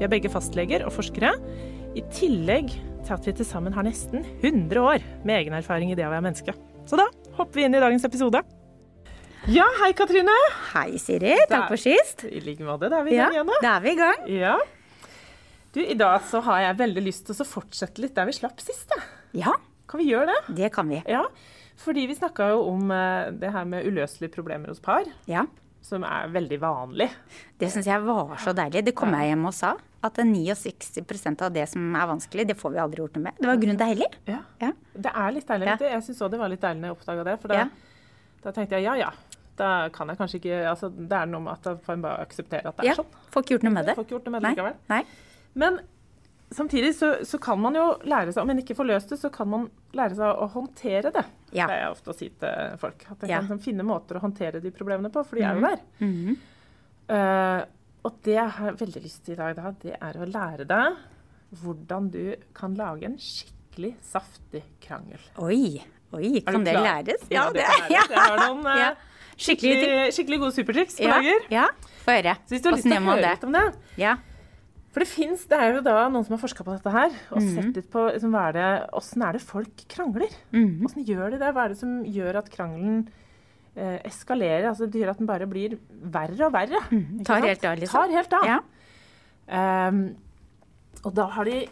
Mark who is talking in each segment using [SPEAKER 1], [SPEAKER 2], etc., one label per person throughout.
[SPEAKER 1] Vi er begge fastleger og forskere, i tillegg til at vi til sammen har nesten 100 år med egen erfaring i det å være menneske. Så da hopper vi inn i dagens episode. Ja, hei Katrine.
[SPEAKER 2] Hei, Siri. Takk for sist.
[SPEAKER 1] I like måte. Da er vi i
[SPEAKER 2] Ja,
[SPEAKER 1] gang igjen nå.
[SPEAKER 2] da er vi i gang.
[SPEAKER 1] Ja. Du, I dag så har jeg veldig lyst til å så fortsette litt der vi slapp sist. Da.
[SPEAKER 2] Ja,
[SPEAKER 1] Kan vi gjøre det?
[SPEAKER 2] det kan vi.
[SPEAKER 1] Ja, fordi vi snakka jo om eh, det her med uløselige problemer hos par,
[SPEAKER 2] Ja.
[SPEAKER 1] som er veldig vanlig.
[SPEAKER 2] Det syns jeg var så deilig. Det kom jeg hjem og sa. At 69 av det som er vanskelig, det får vi aldri gjort noe med. Det var i grunnen deilig.
[SPEAKER 1] Ja.
[SPEAKER 2] Ja.
[SPEAKER 1] Det er litt deilig.
[SPEAKER 2] Ja.
[SPEAKER 1] vet du. Jeg syns òg det var litt deilig når jeg oppdaga det. For da,
[SPEAKER 2] Ja.
[SPEAKER 1] da tenkte jeg ja, ja. Da kan jeg kanskje ikke altså, Det er noe med at da får en bare akseptere at det er
[SPEAKER 2] Ja,
[SPEAKER 1] sånn.
[SPEAKER 2] Får ikke gjort noe med det.
[SPEAKER 1] Får ikke gjort noe med det
[SPEAKER 2] Nei.
[SPEAKER 1] likevel.
[SPEAKER 2] Nei.
[SPEAKER 1] Men samtidig så, så kan man jo lære seg, om en ikke får løst det, så kan man lære seg å håndtere det.
[SPEAKER 2] Ja.
[SPEAKER 1] Det er jeg ofte å si til folk. At en
[SPEAKER 2] Ja. Mm.
[SPEAKER 1] kan liksom finne måter å håndtere de problemene på, for de er jo der. Eh, og det jeg har veldig lyst til i dag, da, det er å lære deg hvordan du kan lage en skikkelig saftig krangel.
[SPEAKER 2] Oi. Oi,
[SPEAKER 1] Er du
[SPEAKER 2] kan det
[SPEAKER 1] klar?
[SPEAKER 2] læres?
[SPEAKER 1] Ja, det kan læres. Jeg har noen eh,
[SPEAKER 2] Ja. Skikkelig ting.
[SPEAKER 1] skikkelig, skikkelig gode supertriks på
[SPEAKER 2] Ja,
[SPEAKER 1] lager.
[SPEAKER 2] ja. Få høre.
[SPEAKER 1] Så hvis du har lyst til
[SPEAKER 2] Hvordan
[SPEAKER 1] å
[SPEAKER 2] gjør man
[SPEAKER 1] høre
[SPEAKER 2] det?
[SPEAKER 1] litt om det,
[SPEAKER 2] Ja.
[SPEAKER 1] For det finnes, det er jo da noen som har forska på dette her, og
[SPEAKER 2] Mhm.
[SPEAKER 1] sett litt på liksom, hva er det, hvordan er det folk krangler.
[SPEAKER 2] Mhm.
[SPEAKER 1] Hvordan gjør de det? Hva er det som gjør at krangelen eh, eskalerer? Altså, det gjør at den bare blir verre og verre. ikke
[SPEAKER 2] Tar
[SPEAKER 1] sant?
[SPEAKER 2] helt av, liksom.
[SPEAKER 1] Tar helt av.
[SPEAKER 2] Ja.
[SPEAKER 1] Ehm, og da har de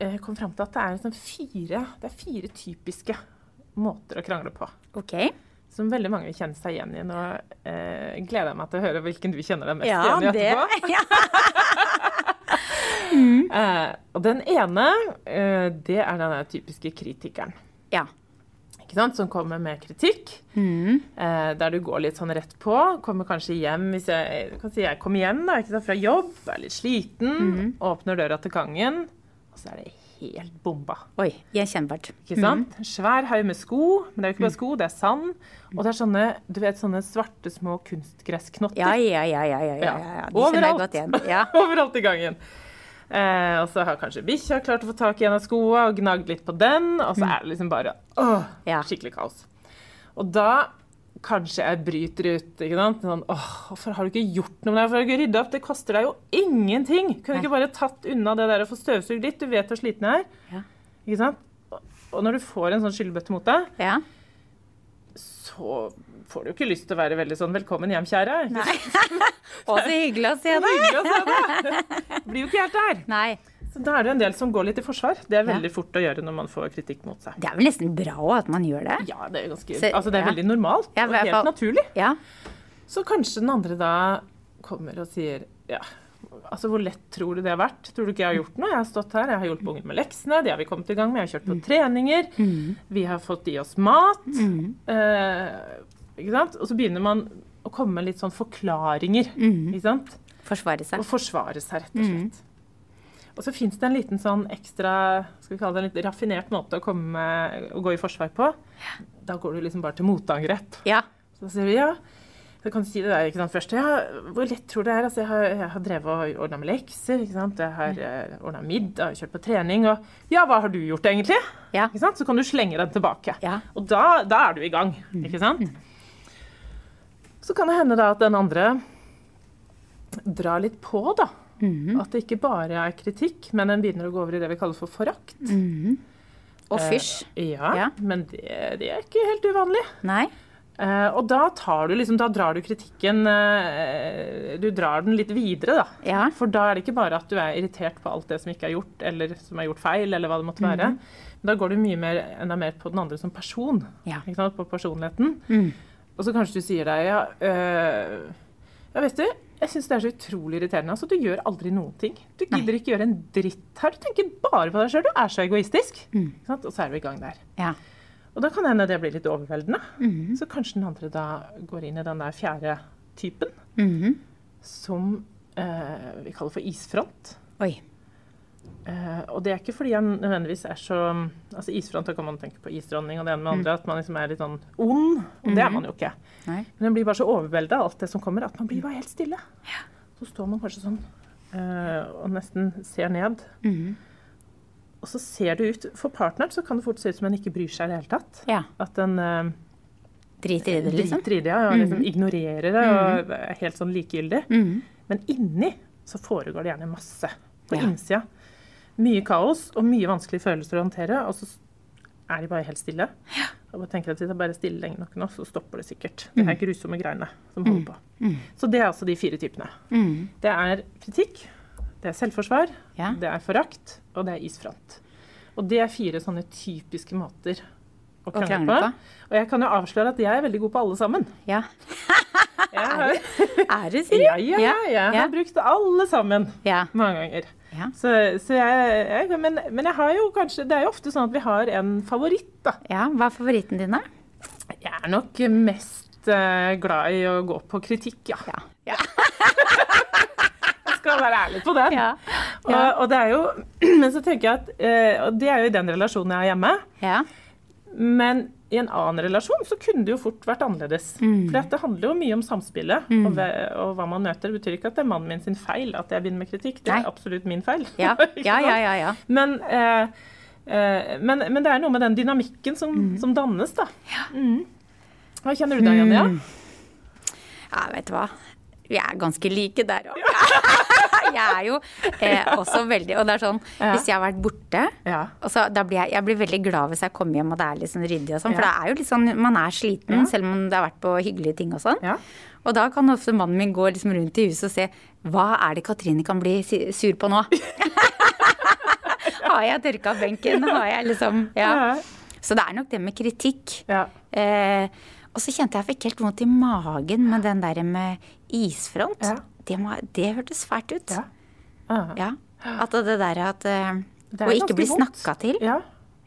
[SPEAKER 1] eh, kommet fram til at det er, liksom fire, det er fire typiske måter å krangle på.
[SPEAKER 2] Ok.
[SPEAKER 1] Som veldig mange vil kjenne seg igjen i. Nå eh, gleder jeg meg til å høre hvilken du kjenner deg mest
[SPEAKER 2] Ja,
[SPEAKER 1] igjen i
[SPEAKER 2] det
[SPEAKER 1] etterpå.
[SPEAKER 2] ja.
[SPEAKER 1] Eh, og den ene, eh, det er den der typiske kritikeren.
[SPEAKER 2] ja.
[SPEAKER 1] Ikke sant? Som kommer med kritikk. Eh, der du går litt sånn rett på. Kommer kanskje hjem hvis jeg, jeg kan si jeg kommer hjem da, ikke sant? fra jobb, er litt sliten, åpner døra til gangen, og så er det helt bomba.
[SPEAKER 2] Oi, gjenkjennbart.
[SPEAKER 1] Ikke sant? En svær haug med sko, men det er jo ikke bare sko, det er sand. Og det er sånne, du vet, sånne svarte små kunstgressknotter.
[SPEAKER 2] Ja, ja, ja. ja, ja, ja, ja. De kjenner jeg
[SPEAKER 1] Overalt.
[SPEAKER 2] godt igjen. Ja.
[SPEAKER 1] Overalt i gangen. Eh, og så har kanskje bikkja klart å få tak i en av skoa og gnagd litt på den, og så er det liksom bare åh,
[SPEAKER 2] Mm. Ja.
[SPEAKER 1] skikkelig kaos. Og da kanskje jeg bryter ut. ikke sant? Sånn, åh, Hvorfor har du ikke gjort noe med det? Hvorfor har du ikke rydda opp? Det koster deg jo ingenting! Kunne du ikke bare tatt unna det der og få støvsugd litt? Du vet hvor sliten jeg er.
[SPEAKER 2] Ja.
[SPEAKER 1] Ikke sant? Og- Og når du får en sånn skyllebøtte mot deg,
[SPEAKER 2] ja.
[SPEAKER 1] så får du jo ikke lyst til å være veldig sånn 'velkommen hjem, kjære'. Ikke sant?
[SPEAKER 2] Å, så hyggelig å se deg.
[SPEAKER 1] Hyggelig å se deg! Blir jo ikke helt der.
[SPEAKER 2] Nei.
[SPEAKER 1] Så Da er det jo en del som går litt i forsvar. Det er veldig fort å gjøre når man får kritikk mot seg.
[SPEAKER 2] Det er vel nesten bra også at man gjør det.
[SPEAKER 1] Ja, det er, ganske,
[SPEAKER 2] Så-
[SPEAKER 1] altså det er
[SPEAKER 2] ja.
[SPEAKER 1] veldig normalt
[SPEAKER 2] Ja, i
[SPEAKER 1] og
[SPEAKER 2] hvert
[SPEAKER 1] helt
[SPEAKER 2] fall-
[SPEAKER 1] naturlig.
[SPEAKER 2] Ja.
[SPEAKER 1] Så kanskje den andre da kommer og sier ja, altså hvor lett tror du det har vært? Tror du ikke jeg har gjort noe? Jeg har stått her, jeg har hjulpet ungene med leksene, de har vi kommet i gang med, jeg har kjørt på
[SPEAKER 2] Mm.
[SPEAKER 1] treninger, vi har fått i oss mat.
[SPEAKER 2] Mm.
[SPEAKER 1] Eh, ikke sant? Og så begynner man å komme med litt sånn forklaringer.
[SPEAKER 2] Mm.
[SPEAKER 1] ikke sant?
[SPEAKER 2] Forsvare seg.
[SPEAKER 1] Og forsvare seg, rett og slett. Og så fins det en liten sånn ekstra skal vi kalle det en litt raffinert måte å, komme med, å gå i forsvar på. Da går du liksom bare til motangrep.
[SPEAKER 2] Ja.
[SPEAKER 1] Så sier du ja. Så kan du si det der ikke sant, først. Ja, hvor lett tror du det er? Altså, jeg, har, jeg har drevet og ordna med lekser. ikke sant? Jeg har eh, ordna middag, kjørt på trening. Og ja, hva har du gjort egentlig?
[SPEAKER 2] Ja.
[SPEAKER 1] Ikke sant? Så kan du slenge den tilbake.
[SPEAKER 2] Ja. Mm.
[SPEAKER 1] Og da, da er du i gang, ikke sant? Så kan det hende da at den andre drar litt på, da.
[SPEAKER 2] Mm.
[SPEAKER 1] At det ikke bare er kritikk, men en begynner å gå over i det vi kaller for forakt.
[SPEAKER 2] Og fysj.
[SPEAKER 1] Ja,
[SPEAKER 2] Ja.
[SPEAKER 1] men det, det er ikke helt uvanlig.
[SPEAKER 2] Nei.
[SPEAKER 1] Eh, og da, tar du liksom, da drar du kritikken eh, Du drar den litt videre, da.
[SPEAKER 2] Ja.
[SPEAKER 1] For da er det ikke bare at du er irritert på alt det som ikke er gjort, eller som er gjort feil, eller hva det måtte være. Men da går du mye mer, enda mer på den andre som person.
[SPEAKER 2] Mhm. Ja. Mm.
[SPEAKER 1] Ikke sant? På personligheten. Og så kanskje du sier deg ja, øh, ja vet du, jeg syns det er så utrolig irriterende. Altså, du gjør aldri noen ting. Du gidder ikke gjøre en dritt her. Du tenker bare på deg sjøl. Du er så egoistisk.
[SPEAKER 2] Mm.
[SPEAKER 1] Ikke sant? Og så er du i gang der.
[SPEAKER 2] Ja.
[SPEAKER 1] Og da kan hende det blir litt overveldende.
[SPEAKER 2] Mhm.
[SPEAKER 1] Så kanskje den andre da går inn i den der fjerde typen,
[SPEAKER 2] Mhm.
[SPEAKER 1] som eh, vi kaller for isfront.
[SPEAKER 2] Oi.
[SPEAKER 1] Eh, og det er ikke fordi han nødvendigvis er så Altså isfront, da kan man tenke på isdronning og det ene med det andre, at man liksom er litt sånn ond. Og det er man jo ikke.
[SPEAKER 2] Mm. Mhm. Nei.
[SPEAKER 1] Men en blir bare så overvelda av alt det som kommer, at man blir bare helt stille. Så står man kanskje sånn eh, og nesten ser ned.
[SPEAKER 2] Mhm.
[SPEAKER 1] Og så ser det ut For partneren så kan det fort se ut som en ikke bryr seg i det hele tatt.
[SPEAKER 2] Ja.
[SPEAKER 1] At en eh,
[SPEAKER 2] Driter i det, liksom. Mm.
[SPEAKER 1] driter i det ja, og liksom ignorerer det og er helt sånn likegyldig. Men inni så foregår det gjerne masse. På innsida. Mye kaos og mye vanskelige følelser å håndtere. Og så er de bare helt stille. Og bare tenker at hvis jeg bare er stille lenge nok nå, så stopper det sikkert.
[SPEAKER 2] Mm.
[SPEAKER 1] Det er grusomme greiene som holder på. Så det er altså de fire typene. Det er kritikk, det er selvforsvar,
[SPEAKER 2] Mm. Ja.
[SPEAKER 1] det er forakt, og det er isfront. Og det er fire sånne typiske måter å krangle
[SPEAKER 2] krangle
[SPEAKER 1] på.
[SPEAKER 2] på.
[SPEAKER 1] Og jeg kan jo avsløre at jeg er veldig god på alle sammen.
[SPEAKER 2] Ja.
[SPEAKER 1] Jeg har,
[SPEAKER 2] Er du, sier du?
[SPEAKER 1] ja, ja, ja, jeg
[SPEAKER 2] Ja.
[SPEAKER 1] har brukt alle sammen
[SPEAKER 2] Ja.
[SPEAKER 1] mange ganger.
[SPEAKER 2] Ja.
[SPEAKER 1] Så, så jeg, jeg, men, men jeg har jo kanskje Det er jo ofte sånn at vi har en favoritt, da.
[SPEAKER 2] ja. Hva er favoritten din, da?
[SPEAKER 1] Jeg er nok mest eh, glad i å gå på kritikk, ja. jeg skal være ærlig på den.
[SPEAKER 2] Ja.
[SPEAKER 1] Og, og det er jo Men så tenker jeg at eh, Og det er jo i den relasjonen jeg er hjemme.
[SPEAKER 2] Ja.
[SPEAKER 1] Men i en annen relasjon så kunne det jo fort vært annerledes.
[SPEAKER 2] Mm.
[SPEAKER 1] For det handler jo mye om samspillet og, hve- og hva man møter. Det betyr ikke at det er mannen min sin feil at jeg begynner med kritikk. Det er
[SPEAKER 2] Nei.
[SPEAKER 1] absolutt min feil.
[SPEAKER 2] Ja.
[SPEAKER 1] Ikke
[SPEAKER 2] Ja, ja,
[SPEAKER 1] sant?
[SPEAKER 2] ja, ja.
[SPEAKER 1] Men, eh, eh, men, men det er noe med den dynamikken som, som dannes, da. Mm. Hva kjenner du deg igjen i?
[SPEAKER 2] Mm.
[SPEAKER 1] Ja?
[SPEAKER 2] Ja, vet du hva. Vi er ganske like der òg. Jeg er jo eh, også veldig Og det er sånn,
[SPEAKER 1] Ja.
[SPEAKER 2] hvis jeg har vært borte
[SPEAKER 1] Ja.
[SPEAKER 2] og så, da blir jeg, jeg blir veldig glad hvis jeg kommer hjem og det er litt sånn ryddig og sånn. For det er jo litt sånn, man er sliten selv om det har vært på hyggelige ting og sånn.
[SPEAKER 1] Ja.
[SPEAKER 2] Og da kan ofte mannen min gå liksom rundt i huset og se hva er det Katrine kan bli si- sur på nå? har jeg tørka benken? Har jeg liksom Ja.
[SPEAKER 1] Ja.
[SPEAKER 2] Så det er nok det med kritikk.
[SPEAKER 1] Ja.
[SPEAKER 2] Eh, og så kjente jeg jeg fikk helt vondt i magen med den der med isfront.
[SPEAKER 1] Ja.
[SPEAKER 2] Det, må, det hørtes fælt ut.
[SPEAKER 1] Ja.
[SPEAKER 2] Ja. At det der at eh,
[SPEAKER 1] Det er
[SPEAKER 2] Å ikke
[SPEAKER 1] ganske
[SPEAKER 2] bli
[SPEAKER 1] vondt.
[SPEAKER 2] snakka til.
[SPEAKER 1] Ja.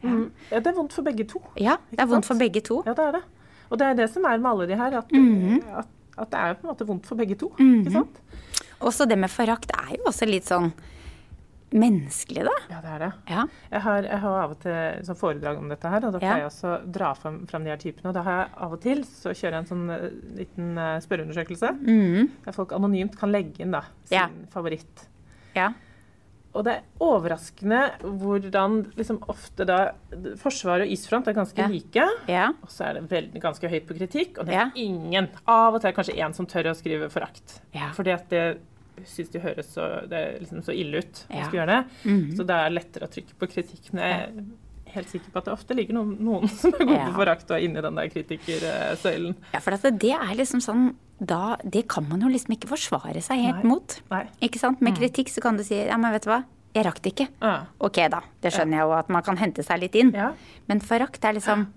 [SPEAKER 1] Mm. ja. Det er vondt for begge to.
[SPEAKER 2] Ja, det er
[SPEAKER 1] Ikke
[SPEAKER 2] vondt for
[SPEAKER 1] sant?
[SPEAKER 2] begge to. Mm.
[SPEAKER 1] Ja, det er det. Og det er det som er med alle de her, at, at, at det er på en måte vondt for begge to. Ikke sant?
[SPEAKER 2] Også det med forakt er jo også litt sånn menneskelig, da.
[SPEAKER 1] Ja, det er det.
[SPEAKER 2] Ja.
[SPEAKER 1] Jeg, har, jeg har av og til sånn foredrag om dette her, og
[SPEAKER 2] Ja.
[SPEAKER 1] da pleier jeg også å dra fram, fram de her typene. Og da har jeg av og til så kjører jeg en sånn eh, liten eh, spørreundersøkelse, der folk anonymt kan legge inn da, sin
[SPEAKER 2] Mm. Ja.
[SPEAKER 1] favoritt.
[SPEAKER 2] Ja.
[SPEAKER 1] Og det er overraskende hvordan liksom ofte da Forsvar og isfront er ganske
[SPEAKER 2] Ja.
[SPEAKER 1] like.
[SPEAKER 2] ja.
[SPEAKER 1] Og så er det veldig, ganske høyt på kritikk, og det
[SPEAKER 2] Ja.
[SPEAKER 1] er ingen. Av og til er det kanskje én som tør å skrive forakt.
[SPEAKER 2] Ja.
[SPEAKER 1] Fordi at det syns de høres så, det er liksom så ille ut. å
[SPEAKER 2] Ja. Mhm.
[SPEAKER 1] skulle gjøre det. Så det er lettere å trykke på kritikk. Men jeg er helt sikker på at det ofte ligger noen, noen som er gode
[SPEAKER 2] Ja.
[SPEAKER 1] på forakt og er inni den der kritikersøylen.
[SPEAKER 2] Ja, for at det er liksom sånn da, Det kan man jo liksom ikke forsvare seg helt
[SPEAKER 1] Nei.
[SPEAKER 2] mot.
[SPEAKER 1] Nei. Mm.
[SPEAKER 2] Ikke sant? Med kritikk så kan du si ja, men vet du hva, jeg rakk det ikke.
[SPEAKER 1] Ja.
[SPEAKER 2] Ok, da. Det skjønner jeg jo at man kan hente seg litt inn.
[SPEAKER 1] Ja.
[SPEAKER 2] Men forakt er liksom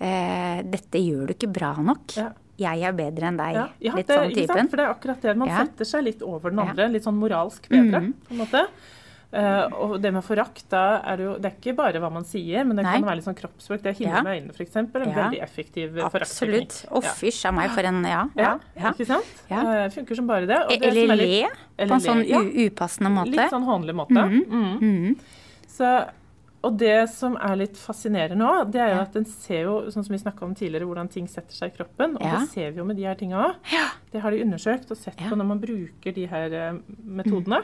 [SPEAKER 2] eh, Dette gjør du ikke bra nok.
[SPEAKER 1] Ja.
[SPEAKER 2] Jeg er bedre enn deg.
[SPEAKER 1] Ja, ja
[SPEAKER 2] litt
[SPEAKER 1] det,
[SPEAKER 2] sånn
[SPEAKER 1] ikke sant?
[SPEAKER 2] typen.
[SPEAKER 1] For det er akkurat det. Man
[SPEAKER 2] Ja.
[SPEAKER 1] setter seg litt over den
[SPEAKER 2] Ja. Mhm.
[SPEAKER 1] andre. Litt sånn moralsk bedre, på en måte. Eh, og det med forakt, da er det jo Det er ikke bare hva man sier, men det
[SPEAKER 2] Nei.
[SPEAKER 1] kan være litt sånn kroppsspråk. Det er himmel
[SPEAKER 2] Ja.
[SPEAKER 1] med øynene, f.eks. En
[SPEAKER 2] Ja.
[SPEAKER 1] veldig effektiv eh,
[SPEAKER 2] Absolutt.
[SPEAKER 1] foraktteknikk.
[SPEAKER 2] Å, fysj a meg, for en Ja.
[SPEAKER 1] Ja.
[SPEAKER 2] ja.
[SPEAKER 1] ja,
[SPEAKER 2] ja.
[SPEAKER 1] ikke sant?
[SPEAKER 2] Ja. E-
[SPEAKER 1] Eh, funker som bare det. og det som
[SPEAKER 2] Eller
[SPEAKER 1] er
[SPEAKER 2] le
[SPEAKER 1] litt-
[SPEAKER 2] på
[SPEAKER 1] eller
[SPEAKER 2] en sånn
[SPEAKER 1] le, ja.
[SPEAKER 2] u upassende måte. Mm-hmm.
[SPEAKER 1] Litt sånn hånlig måte. Mhm. Så, og det som er litt fascinerende òg, det er jo at en ser jo, sånn som vi snakka om tidligere, hvordan ting setter seg i kroppen. Og
[SPEAKER 2] Ja.
[SPEAKER 1] det ser vi jo med de her tinga òg. Det har de undersøkt og sett
[SPEAKER 2] Ja. Mm-hmm.
[SPEAKER 1] på når man bruker de her eh, metodene.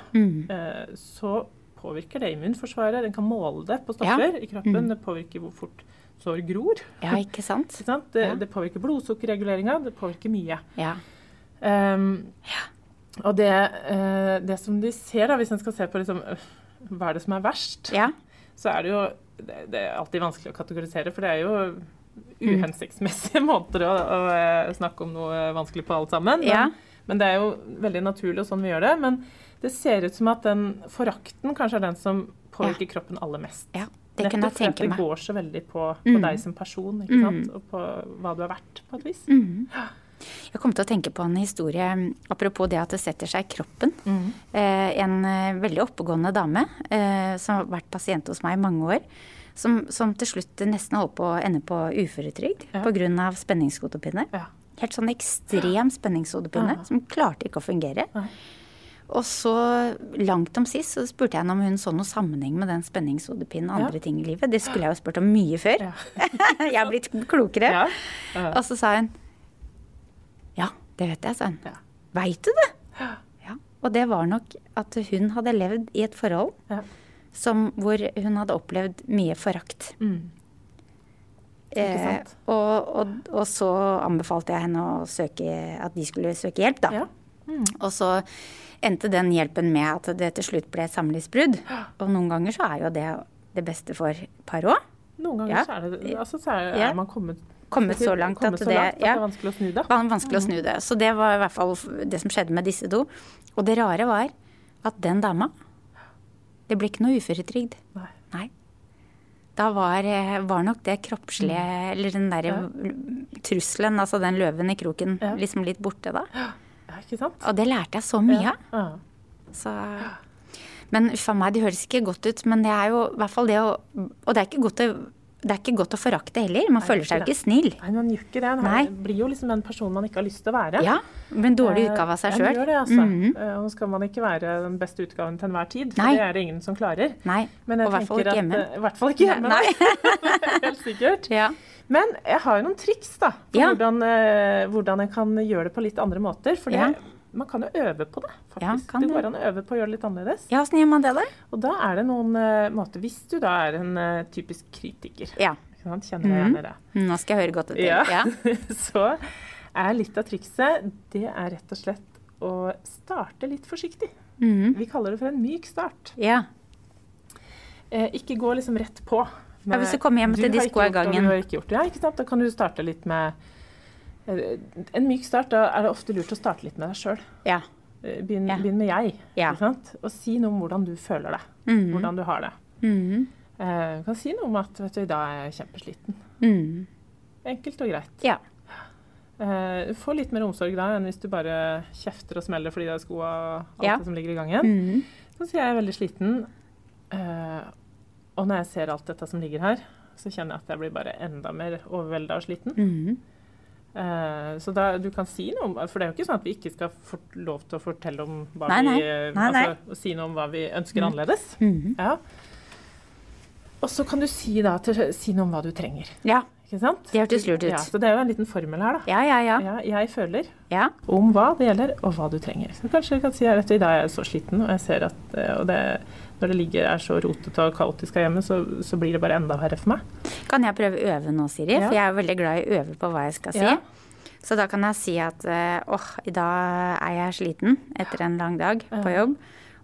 [SPEAKER 1] eh, Så påvirker det immunforsvaret. Den kan måle det på stoffer i kroppen.
[SPEAKER 2] Mm-hmm.
[SPEAKER 1] Det påvirker hvor fort sår gror.
[SPEAKER 2] Ja, ikke sant?
[SPEAKER 1] Ikke sant? Det,
[SPEAKER 2] Ja.
[SPEAKER 1] det påvirker blodsukkerreguleringa. Det påvirker mye.
[SPEAKER 2] Ja.
[SPEAKER 1] Ehm, Og det, eh, det som de ser, da, hvis en skal se på liksom, øh, hva er det som er verst,
[SPEAKER 2] ja.
[SPEAKER 1] så er det jo det, det er alltid vanskelig å kategorisere, for det er jo
[SPEAKER 2] Mm.
[SPEAKER 1] uhensiktsmessige måter å, å eh, snakke om noe vanskelig på alt sammen. Men,
[SPEAKER 2] Ja.
[SPEAKER 1] men det er jo veldig naturlig og sånn vi gjør det. Men det ser ut som at den forakten kanskje er den som påvirker kroppen aller mest.
[SPEAKER 2] Ja, det kunne jeg
[SPEAKER 1] fordi at
[SPEAKER 2] tenke meg. Mm.
[SPEAKER 1] det går så veldig på, på deg som person, ikke sant? og på hva du er verdt, på et vis.
[SPEAKER 2] Jeg kom til å tenke på en historie apropos det at det setter seg i kroppen.
[SPEAKER 1] Mm.
[SPEAKER 2] Eh, en eh, veldig oppegående dame eh, som har vært pasient hos meg i mange år. Som, som til slutt nesten holdt på å ende på uføretrygd
[SPEAKER 1] Ja.
[SPEAKER 2] pga. spenningshodepine.
[SPEAKER 1] Ja.
[SPEAKER 2] Helt sånn ekstrem spenningshodepine
[SPEAKER 1] Ja.
[SPEAKER 2] som klarte ikke å fungere.
[SPEAKER 1] Nei.
[SPEAKER 2] Og så langt om sist så spurte jeg henne om hun så noen sammenheng med den spenningshodepinen og andre ting i livet. Det skulle jeg jo spurt om mye før. jeg har blitt klokere.
[SPEAKER 1] Ja. Ja.
[SPEAKER 2] Og så sa hun Ja, det vet jeg, sa hun.
[SPEAKER 1] Ja.
[SPEAKER 2] Veit du det? Ja. Og det var nok at hun hadde levd i et forhold
[SPEAKER 1] Ja.
[SPEAKER 2] som, hvor hun hadde opplevd mye forakt.
[SPEAKER 1] Mm. Ikke sant?
[SPEAKER 2] Eh, og, og, og så anbefalte jeg henne å søke, at de skulle søke hjelp, da.
[SPEAKER 1] Ja. Mm.
[SPEAKER 2] Og så endte den hjelpen med at det til slutt ble et samlivsbrudd. Og noen ganger så er jo det det beste for par òg.
[SPEAKER 1] Noen ganger
[SPEAKER 2] Ja.
[SPEAKER 1] så er det altså, så er,
[SPEAKER 2] Ja.
[SPEAKER 1] er man kommet,
[SPEAKER 2] Kommet så langt at
[SPEAKER 1] kommet så
[SPEAKER 2] det-
[SPEAKER 1] langt at det
[SPEAKER 2] ja.
[SPEAKER 1] er vanskelig å snu det.
[SPEAKER 2] Det var vanskelig å snu det. Så det var i hvert fall det som skjedde med disse to. Og det rare var at den dama Det ble ikke noe uføretrygd.
[SPEAKER 1] Nei.
[SPEAKER 2] Nei. Da var, eh, var nok det
[SPEAKER 1] Mm.
[SPEAKER 2] kroppslige, eller den derre trusselen, altså den løven i kroken,
[SPEAKER 1] Ja.
[SPEAKER 2] liksom litt borte da.
[SPEAKER 1] Ja, ikke sant?
[SPEAKER 2] Og det lærte jeg så mye av.
[SPEAKER 1] Ja.
[SPEAKER 2] Så... Men uff a meg, det høres ikke godt ut. Men det er jo i hvert fall det å Og det er ikke godt å, det er ikke godt å forakte heller. Man føler seg jo
[SPEAKER 1] det er
[SPEAKER 2] ikke snill.
[SPEAKER 1] Nei, man gjør ikke det. Man
[SPEAKER 2] Nei.
[SPEAKER 1] blir jo liksom en person man ikke har lyst til å være.
[SPEAKER 2] Ja, men dårlig utgave av seg
[SPEAKER 1] Eh,
[SPEAKER 2] Mm.
[SPEAKER 1] Ja,
[SPEAKER 2] sjøl.
[SPEAKER 1] det gjør det, altså. Eh, Nå skal man ikke være den beste utgaven til enhver tid, for
[SPEAKER 2] Nei.
[SPEAKER 1] det er det ingen som klarer.
[SPEAKER 2] Nei,
[SPEAKER 1] Men jeg
[SPEAKER 2] og i hvert fall
[SPEAKER 1] tenker
[SPEAKER 2] ikke
[SPEAKER 1] at,
[SPEAKER 2] hjemme.
[SPEAKER 1] eh, I hvert fall ikke hjemme,
[SPEAKER 2] Nei.
[SPEAKER 1] nei. Helt sikkert.
[SPEAKER 2] Ja.
[SPEAKER 1] Men jeg har jo noen triks da, på
[SPEAKER 2] Ja.
[SPEAKER 1] hvordan, eh, hvordan en kan gjøre det på litt andre måter. For det-
[SPEAKER 2] Ja.
[SPEAKER 1] man kan jo øve på det,
[SPEAKER 2] Ja,
[SPEAKER 1] faktisk.
[SPEAKER 2] kan
[SPEAKER 1] det
[SPEAKER 2] du.
[SPEAKER 1] går an å øve på å gjøre det litt annerledes.
[SPEAKER 2] Ja, åssen gjør man det, da?
[SPEAKER 1] Og da er det noen eh, måter Hvis du da er en eh, typisk kritiker,
[SPEAKER 2] Ja.
[SPEAKER 1] ikke sant? kjenner jeg gjerne det.
[SPEAKER 2] Nå skal jeg høre godt etter.
[SPEAKER 1] Ja.
[SPEAKER 2] Ja.
[SPEAKER 1] Så er litt av trikset, det er rett og slett å starte litt forsiktig.
[SPEAKER 2] Mhm.
[SPEAKER 1] Vi kaller det for en myk start.
[SPEAKER 2] Ja.
[SPEAKER 1] Eh, ikke gå liksom rett på. med,
[SPEAKER 2] hvis du kommer hjem til
[SPEAKER 1] har ikke gjort, og
[SPEAKER 2] diskoavgangen."
[SPEAKER 1] Du har ikke gjort det. Ja, ikke sant? Da kan du starte litt med eh, En myk start, da er det ofte lurt å starte litt med deg sjøl.
[SPEAKER 2] ja.
[SPEAKER 1] Begynn,
[SPEAKER 2] Ja.
[SPEAKER 1] begynn med jeg.
[SPEAKER 2] Ja. Mhm.
[SPEAKER 1] Ikke sant? Og si noe om hvordan du føler deg. Hvordan du har det. Eh, du kan si noe om at vet du, i dag er jeg kjempesliten.
[SPEAKER 2] Mm.
[SPEAKER 1] Enkelt og greit.
[SPEAKER 2] Ja.
[SPEAKER 1] Eh, Få litt mer omsorg da enn hvis du bare kjefter og smeller fordi det er skoa og alt
[SPEAKER 2] Ja. Mm.
[SPEAKER 1] det som ligger i gangen. Så sier jeg er veldig sliten, eh, og når jeg ser alt dette som ligger her, så kjenner jeg at jeg blir bare enda mer overvelda og sliten.
[SPEAKER 2] Mm.
[SPEAKER 1] Eh, så da, du kan si noe om For det er jo ikke sånn at vi ikke skal få lov til å fortelle om hva
[SPEAKER 2] Nei, nei.
[SPEAKER 1] vi eh,
[SPEAKER 2] Nei, nei. Mm.
[SPEAKER 1] Altså, å si noe om hva vi ønsker annerledes. Ja. Og så kan du si, da, til, si noe om hva du trenger.
[SPEAKER 2] ja.
[SPEAKER 1] Ikke sant?
[SPEAKER 2] Det hørtes lurt ut.
[SPEAKER 1] Ja, så det er jo en liten formel her, da.
[SPEAKER 2] Ja, ja, ja.
[SPEAKER 1] Ja, jeg føler
[SPEAKER 2] ja.
[SPEAKER 1] om hva det gjelder, og hva du trenger. Så kanskje jeg kan si her at i dag er jeg så sliten, og jeg ser at eh, og det, når det ligger er så rotete og kaotisk her hjemme, så, så blir det bare enda verre for meg.
[SPEAKER 2] Kan jeg prøve å øve nå, Siri?
[SPEAKER 1] Ja.
[SPEAKER 2] For jeg er veldig glad i å øve på hva jeg skal si.
[SPEAKER 1] Ja.
[SPEAKER 2] Så da kan jeg si at eh, åh, i dag er jeg sliten etter en lang dag på jobb.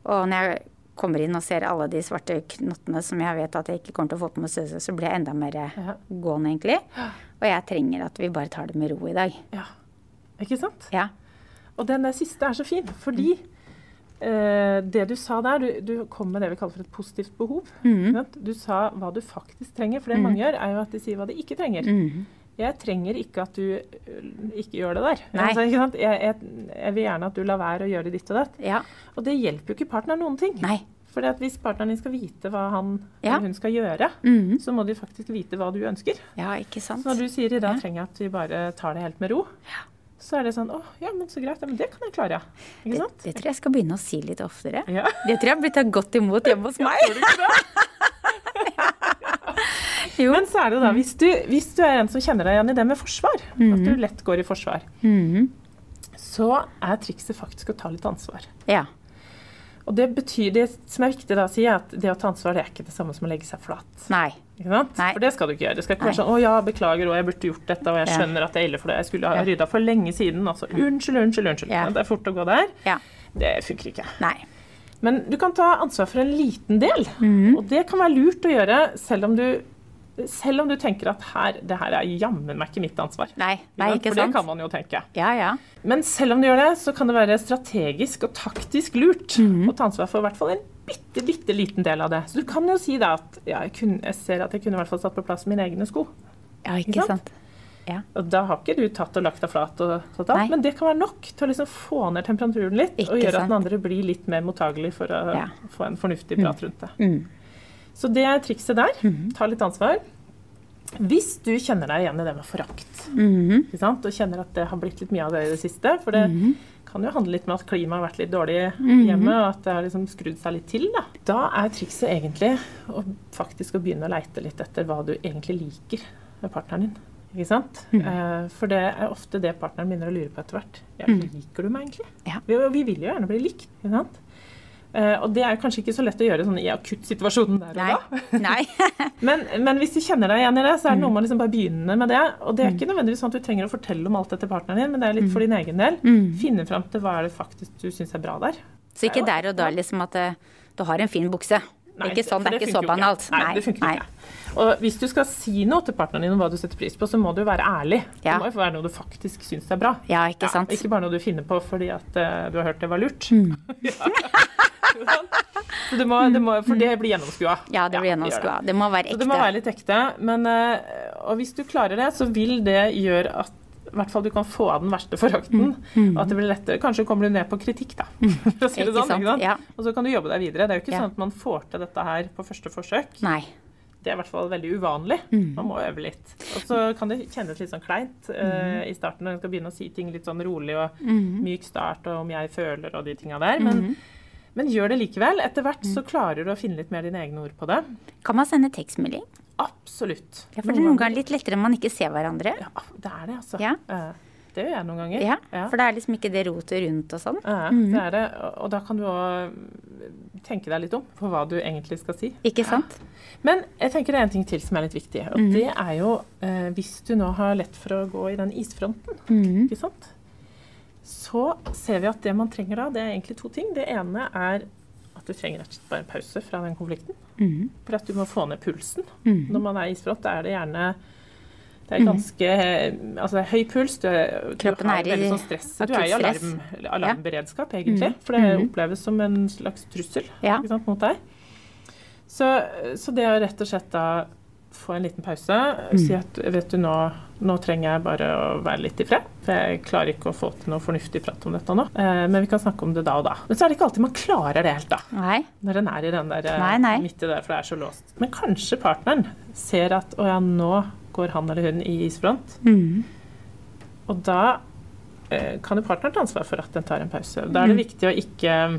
[SPEAKER 2] Og når jeg kommer inn og ser alle de svarte knottene som jeg vet at jeg ikke kommer til å få på meg støvsug, så blir jeg enda mer eh, gående, egentlig. Og jeg trenger at vi bare tar det med ro i dag.
[SPEAKER 1] Ja, ikke sant?
[SPEAKER 2] Ja.
[SPEAKER 1] Og den der siste er så fin, fordi eh, det du sa der, du, du kom med det vi kaller for et positivt behov.
[SPEAKER 2] Mm.
[SPEAKER 1] ikke sant? Du sa hva du faktisk trenger, for det mange gjør, er jo at de sier hva de ikke trenger.
[SPEAKER 2] Mm.
[SPEAKER 1] Jeg trenger ikke at du ø, ikke gjør det der.
[SPEAKER 2] Nei.
[SPEAKER 1] Altså, ikke sant? Jeg, jeg, jeg vil gjerne at du lar være å gjøre ditt og datt.
[SPEAKER 2] Ja.
[SPEAKER 1] Og det hjelper jo ikke partneren noen ting.
[SPEAKER 2] Nei.
[SPEAKER 1] Fordi at hvis partneren din skal vite hva han
[SPEAKER 2] Ja. Mm.
[SPEAKER 1] eller hun skal gjøre, så må de faktisk vite hva du ønsker.
[SPEAKER 2] Ja, ikke sant.
[SPEAKER 1] Så når du sier i dag trenger jeg at vi bare tar det helt med ro, så er det sånn å, ja, men så greit, ja, men det kan jeg klare. Ikke
[SPEAKER 2] Det,
[SPEAKER 1] sant?
[SPEAKER 2] det tror jeg skal begynne å si litt oftere.
[SPEAKER 1] Ja.
[SPEAKER 2] Det tror jeg blir tatt godt imot hjemme hos meg. jo. Mm.
[SPEAKER 1] Men så er det jo da, hvis du, hvis du er en som kjenner deg igjen i det med forsvar, at
[SPEAKER 2] Mm.
[SPEAKER 1] du lett går i forsvar, så er trikset faktisk å ta litt ansvar.
[SPEAKER 2] Ja.
[SPEAKER 1] Og det betyr, det som er viktig da, sier jeg, at det å ta ansvar, det er ikke det samme som å legge seg flat.
[SPEAKER 2] Nei.
[SPEAKER 1] Ikke sant?
[SPEAKER 2] Nei.
[SPEAKER 1] For det skal du ikke gjøre. Det skal ikke
[SPEAKER 2] Nei.
[SPEAKER 1] være sånn 'Å ja, beklager, og jeg burde gjort dette, og jeg
[SPEAKER 2] Ja.
[SPEAKER 1] skjønner at det er ille for det, jeg skulle ha
[SPEAKER 2] Ja.
[SPEAKER 1] rydda for lenge siden', altså 'Unnskyld, unnskyld, unnskyld'.
[SPEAKER 2] Ja.
[SPEAKER 1] Det er fort å gå der.
[SPEAKER 2] Ja.
[SPEAKER 1] Det funker ikke.
[SPEAKER 2] Nei. Mhm.
[SPEAKER 1] Men du kan ta ansvar for en liten del, og det kan være lurt å gjøre selv om du Selv om du tenker at her, det her er jammen meg ikke mitt ansvar.
[SPEAKER 2] Nei, nei,
[SPEAKER 1] Ja,
[SPEAKER 2] ikke
[SPEAKER 1] For det
[SPEAKER 2] sant?
[SPEAKER 1] kan man jo tenke.
[SPEAKER 2] Ja, ja.
[SPEAKER 1] Men selv om du gjør det, så kan det være strategisk og taktisk lurt
[SPEAKER 2] Mhm.
[SPEAKER 1] å ta ansvar for i hvert fall en bitte, bitte liten del av det. Så du kan jo si da at ja, jeg, kunne, jeg ser at jeg kunne i hvert fall satt på plass mine egne sko.
[SPEAKER 2] Ja,
[SPEAKER 1] Ikke
[SPEAKER 2] ikke
[SPEAKER 1] sant?
[SPEAKER 2] sant?
[SPEAKER 1] Og da har ikke du tatt og lagt deg flat, og sånt, alt,
[SPEAKER 2] Nei.
[SPEAKER 1] men det kan være nok til å liksom få ned temperaturen litt og
[SPEAKER 2] Ikke
[SPEAKER 1] gjøre at
[SPEAKER 2] sant.
[SPEAKER 1] den andre blir litt mer mottagelig for å
[SPEAKER 2] Ja. Mm.
[SPEAKER 1] få en fornuftig prat rundt det. Så det er trikset der.
[SPEAKER 2] Mm-hmm.
[SPEAKER 1] Ta litt ansvar. Hvis du kjenner deg igjen i det med forakt ikke sant? og kjenner at det har blitt litt mye av det i det siste For det kan jo handle litt med at klimaet har vært litt dårlig hjemme, og at det har liksom skrudd seg litt til. Da, Mhm. da er trikset egentlig å faktisk å begynne å leite litt etter hva du egentlig liker med partneren din. Ikke sant? Eh, For det er ofte det partneren begynner å lure på etter hvert. Ja, liker du meg egentlig?
[SPEAKER 2] Ja.
[SPEAKER 1] Vi, vi vil jo gjerne bli likt. Ikke sant? Eh, Og det er kanskje ikke så lett å gjøre sånn i akuttsituasjonen der og
[SPEAKER 2] Nei.
[SPEAKER 1] da.
[SPEAKER 2] Nei.
[SPEAKER 1] Men, men hvis du kjenner deg igjen i det, så er det noe med å liksom bare begynne med det. Og det er ikke nødvendigvis sånn at du trenger å fortelle om alt det til partneren din, men det er litt for din egen del. Finne fram til hva er det faktisk du syns er bra der.
[SPEAKER 2] Så ikke der og da liksom at eh, du har en fin bukse. ikke sånn,
[SPEAKER 1] for
[SPEAKER 2] det er ikke
[SPEAKER 1] funker
[SPEAKER 2] så
[SPEAKER 1] jo
[SPEAKER 2] banalt.
[SPEAKER 1] Nei, det funker jo ikke. Og hvis du skal si noe til partneren din om hva du setter pris på, så må du jo være ærlig.
[SPEAKER 2] Ja.
[SPEAKER 1] Det må jo være noe du faktisk syns er bra.
[SPEAKER 2] Ja, ikke sant?
[SPEAKER 1] ikke bare noe du finner på fordi at eh, du har hørt det var lurt. Ja. så det må, det må, for det blir gjennomskua.
[SPEAKER 2] Ja, det blir gjennomskua. Det må være
[SPEAKER 1] Så
[SPEAKER 2] ekte.
[SPEAKER 1] det må være litt ekte. Men, eh, og hvis du klarer det, så vil det gjøre at i hvert fall du kan få av den verste forakten. Og at det blir lettere. Kanskje kommer du ned på kritikk, da. For å si
[SPEAKER 2] Mm.
[SPEAKER 1] det
[SPEAKER 2] Ikke
[SPEAKER 1] sånn,
[SPEAKER 2] sant,
[SPEAKER 1] ikke sant?
[SPEAKER 2] ja.
[SPEAKER 1] Og så kan du jobbe deg videre. Det er jo ikke
[SPEAKER 2] Ja.
[SPEAKER 1] sånn at man får til dette her på første forsøk.
[SPEAKER 2] Nei.
[SPEAKER 1] Det er i hvert fall veldig uvanlig.
[SPEAKER 2] Mm.
[SPEAKER 1] Man må øve litt. Og så kan det kjennes litt sånn kleint
[SPEAKER 2] Mm.
[SPEAKER 1] eh, i starten når en skal begynne å si ting litt sånn rolig og myk start og om jeg føler og de tinga der. Men,
[SPEAKER 2] Mm.
[SPEAKER 1] men gjør det likevel. Etter hvert så klarer du å finne litt mer dine egne ord på det.
[SPEAKER 2] Kan man sende tekstmelding?
[SPEAKER 1] Absolutt.
[SPEAKER 2] Ja, for det er noen ganger litt lettere om man ikke ser hverandre.
[SPEAKER 1] Ja, det er det, altså.
[SPEAKER 2] Ja.
[SPEAKER 1] Eh, Det gjør jeg noen ganger.
[SPEAKER 2] Ja,
[SPEAKER 1] Ja.
[SPEAKER 2] For det er liksom ikke det rotet rundt og sånn.
[SPEAKER 1] Ja, det er det. Og- Og da kan du òg tenke deg litt om på hva du egentlig skal si.
[SPEAKER 2] Ikke sant?
[SPEAKER 1] Men jeg tenker det er en ting til som er litt viktig. Og
[SPEAKER 2] Mhm.
[SPEAKER 1] det er jo eh, hvis du nå har lett for å gå i den isfronten,
[SPEAKER 2] Mhm.
[SPEAKER 1] ikke sant? så ser vi at det man trenger da, det er egentlig to ting. Det ene er at du trenger rett og slett bare en pause fra den konflikten.
[SPEAKER 2] Mhm.
[SPEAKER 1] For at du må få ned pulsen. Når man er i isfront, da er det gjerne det er ganske altså det er høy puls. Du, er-
[SPEAKER 2] Mhm. Kroppen
[SPEAKER 1] du har
[SPEAKER 2] er i
[SPEAKER 1] veldig sånn stress. Du er i
[SPEAKER 2] akutt stress.
[SPEAKER 1] alarm, liksom, alarmberedskap, egentlig. For det oppleves som en slags trussel
[SPEAKER 2] Ja.
[SPEAKER 1] ikke sant, mot deg. Så, så det å rett og slett da få en liten pause, si at vet du nå, nå trenger jeg bare å være litt i fred. For jeg klarer ikke å få til noe fornuftig prat om dette nå. Eh, men vi kan snakke om det da og da. Men så er det ikke alltid man klarer det helt, da.
[SPEAKER 2] Nei.
[SPEAKER 1] Når en er i den der, eh,
[SPEAKER 2] Nei, nei.
[SPEAKER 1] midt i det, for det er så låst. Men kanskje partneren ser at å ja, nå går han eller hun i isfront. Og da eh, kan jo partneren ta ansvar for at den tar en pause. Da er det viktig å ikke eh,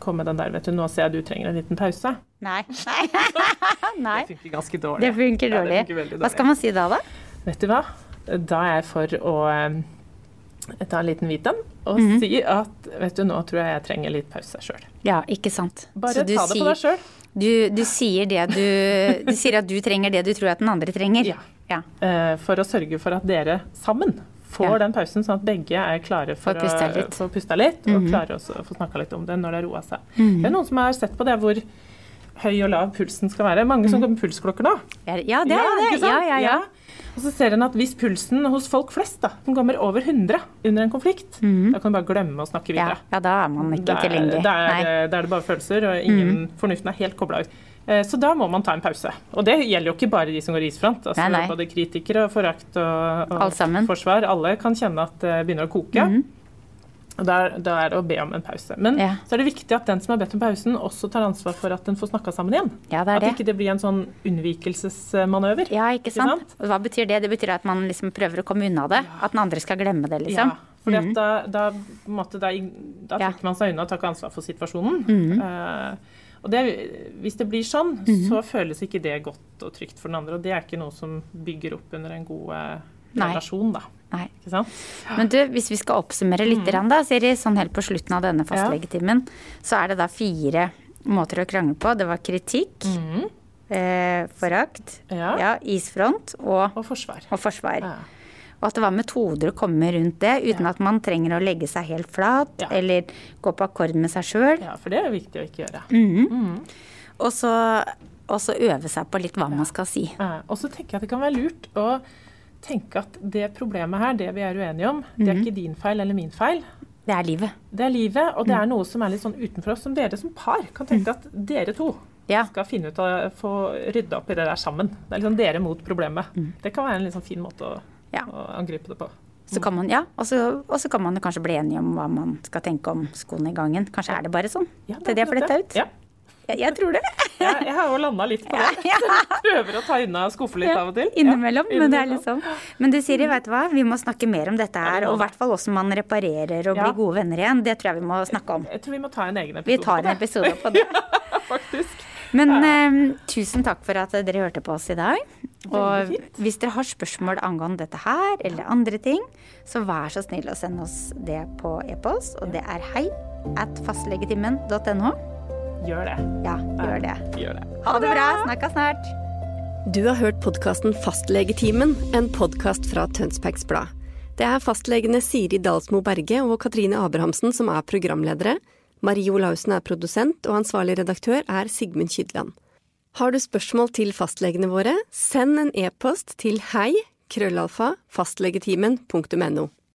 [SPEAKER 1] komme med den der, vet du, nå ser jeg du trenger en liten pause.
[SPEAKER 2] Nei. Nei. Nei.
[SPEAKER 1] Det funker ganske dårlig.
[SPEAKER 2] Det funker
[SPEAKER 1] Ja,
[SPEAKER 2] dårlig.
[SPEAKER 1] det funker veldig
[SPEAKER 2] Hva skal man si da, da?
[SPEAKER 1] Vet du hva? Da er jeg for å eh, ta en liten hvit en og si at vet du, nå tror jeg jeg trenger litt pause sjøl.
[SPEAKER 2] Ja, ikke sant.
[SPEAKER 1] Bare
[SPEAKER 2] Så
[SPEAKER 1] ta
[SPEAKER 2] du
[SPEAKER 1] det på deg
[SPEAKER 2] sier-
[SPEAKER 1] sjøl.
[SPEAKER 2] Du, du sier det du Du sier at du trenger det du tror at den andre trenger.
[SPEAKER 1] Ja.
[SPEAKER 2] ja.
[SPEAKER 1] eh, for å sørge for at dere sammen får
[SPEAKER 2] Ja.
[SPEAKER 1] den pausen, sånn at begge er klare for
[SPEAKER 2] Får pusta
[SPEAKER 1] å
[SPEAKER 2] litt. Mhm.
[SPEAKER 1] få pusta litt, og klarer også å få snakka litt om det når det har roa seg. Det er noen som har sett på det hvor høy og lav pulsen skal være. Mange som går med pulsklokker nå.
[SPEAKER 2] Ja, ja, Mhm. det er jo
[SPEAKER 1] ikke
[SPEAKER 2] det.
[SPEAKER 1] sant?
[SPEAKER 2] Ja, ja, ja.
[SPEAKER 1] Og så ser en at hvis pulsen hos folk flest da, den kommer over 100 under en konflikt, da kan du bare glemme å snakke
[SPEAKER 2] Mhm. Ja,
[SPEAKER 1] videre.
[SPEAKER 2] ja, da er man ikke
[SPEAKER 1] Da er-
[SPEAKER 2] tilgjengelig.
[SPEAKER 1] Da er,
[SPEAKER 2] Nei. Mm.
[SPEAKER 1] da er det bare følelser, og ingen, fornuften er helt kobla ut. Eh, Så da må man ta en pause. Og det gjelder jo ikke bare de som går i isfront. Altså,
[SPEAKER 2] Nei, nei.
[SPEAKER 1] Både kritikere og forakt og, og
[SPEAKER 2] Alt sammen. Mm.
[SPEAKER 1] forsvar. Alle kan kjenne at det begynner å koke. Og da er- da er det å be om en pause. Men
[SPEAKER 2] Ja.
[SPEAKER 1] så er det viktig at den som har bedt om pausen, også tar ansvar for at den får snakka sammen igjen.
[SPEAKER 2] Ja, det er
[SPEAKER 1] at
[SPEAKER 2] det.
[SPEAKER 1] ikke det blir en sånn unnvikelsesmanøver.
[SPEAKER 2] Ja, ikke sant? Og Hva betyr det? Det betyr at man liksom prøver å komme unna det. At den andre skal glemme det, liksom.
[SPEAKER 1] Ja, fordi at da, da, på en måte, da, da
[SPEAKER 2] Ja. Mm.
[SPEAKER 1] trekker man seg unna og tar ikke ansvar for situasjonen. Eh, og det, hvis det blir sånn, så føles ikke det godt og trygt for den andre. Og det er ikke noe som bygger opp under en god eh,
[SPEAKER 2] Nei.
[SPEAKER 1] relasjon, da.
[SPEAKER 2] Nei.
[SPEAKER 1] Ikke sant?
[SPEAKER 2] Men du, hvis vi skal oppsummere
[SPEAKER 1] Mm.
[SPEAKER 2] litt, grann da, Siri, sånn helt på slutten av denne fastlegetimen, så er det da fire måter å krangle på. Det var kritikk, eh, forakt,
[SPEAKER 1] Mm. Ja.
[SPEAKER 2] ja, isfront og,
[SPEAKER 1] Og forsvar.
[SPEAKER 2] og forsvar.
[SPEAKER 1] Ja.
[SPEAKER 2] Og at det var metoder å komme rundt det, uten at man trenger å legge seg helt flat
[SPEAKER 1] Ja.
[SPEAKER 2] eller gå på akkord med seg sjøl. Mm.
[SPEAKER 1] Ja, for det er jo viktig å ikke gjøre.
[SPEAKER 2] Og så, og så øve seg på litt hva man skal si.
[SPEAKER 1] Eh, Og så tenker jeg at det kan være lurt å tenke at det problemet her, det vi er uenige om, det
[SPEAKER 2] Mm.
[SPEAKER 1] er ikke din feil eller min feil.
[SPEAKER 2] Det er livet.
[SPEAKER 1] Det er livet, og
[SPEAKER 2] Mm.
[SPEAKER 1] det er noe som er litt sånn utenfor oss, som dere som par kan tenke at dere to
[SPEAKER 2] Ja.
[SPEAKER 1] skal finne ut av få rydda opp i det der sammen. Det er liksom dere mot problemet. Det kan være en litt sånn fin måte å,
[SPEAKER 2] Mm. Ja.
[SPEAKER 1] å angripe det på.
[SPEAKER 2] Så kan man, ja, og så, og så kan man kanskje bli enige om hva man skal tenke om skoene i gangen. Kanskje er det bare sånn.
[SPEAKER 1] Ja,
[SPEAKER 2] det er det jeg
[SPEAKER 1] akkurat
[SPEAKER 2] flytta ut.
[SPEAKER 1] Ja.
[SPEAKER 2] Jeg, jeg tror det.
[SPEAKER 1] Jeg, jeg har jo landa litt på det.
[SPEAKER 2] Ja.
[SPEAKER 1] Prøver å ta unna skuffe litt av og til. Ja,
[SPEAKER 2] Innimellom. Men det er
[SPEAKER 1] innimellom.
[SPEAKER 2] liksom Men du, Siri, vet du hva? Vi må snakke mer om dette her.
[SPEAKER 1] må
[SPEAKER 2] Og i
[SPEAKER 1] vi.
[SPEAKER 2] hvert fall hvordan man reparerer og
[SPEAKER 1] Ja.
[SPEAKER 2] blir gode venner igjen. Det tror jeg vi må snakke om.
[SPEAKER 1] Jeg tror vi må ta en egen episode
[SPEAKER 2] Vi tar en episode på det.
[SPEAKER 1] Ja, faktisk.
[SPEAKER 2] Men eh, tusen takk for at dere hørte på oss i dag. Og
[SPEAKER 1] Veldig fint.
[SPEAKER 2] hvis dere har spørsmål angående dette her eller andre ting, så vær så snill å sende oss det på e-post. Og det er hei at fastlegetimen.no.
[SPEAKER 1] Gjør det.
[SPEAKER 2] Ja, gjør det.
[SPEAKER 1] Gjør det.
[SPEAKER 2] Ha det bra. Snakkes snart.
[SPEAKER 3] Du har hørt podkasten Fastlegetimen, en podkast fra Tønsbergs Blad. Det er fastlegene Siri Dalsmo Berge og Katrine Abrahamsen som er programledere. Marie Olaussen er produsent, og ansvarlig redaktør er Sigmund Kydland. Har du spørsmål til fastlegene våre, send en e-post til hei krøllalfa fastlegetimen.no.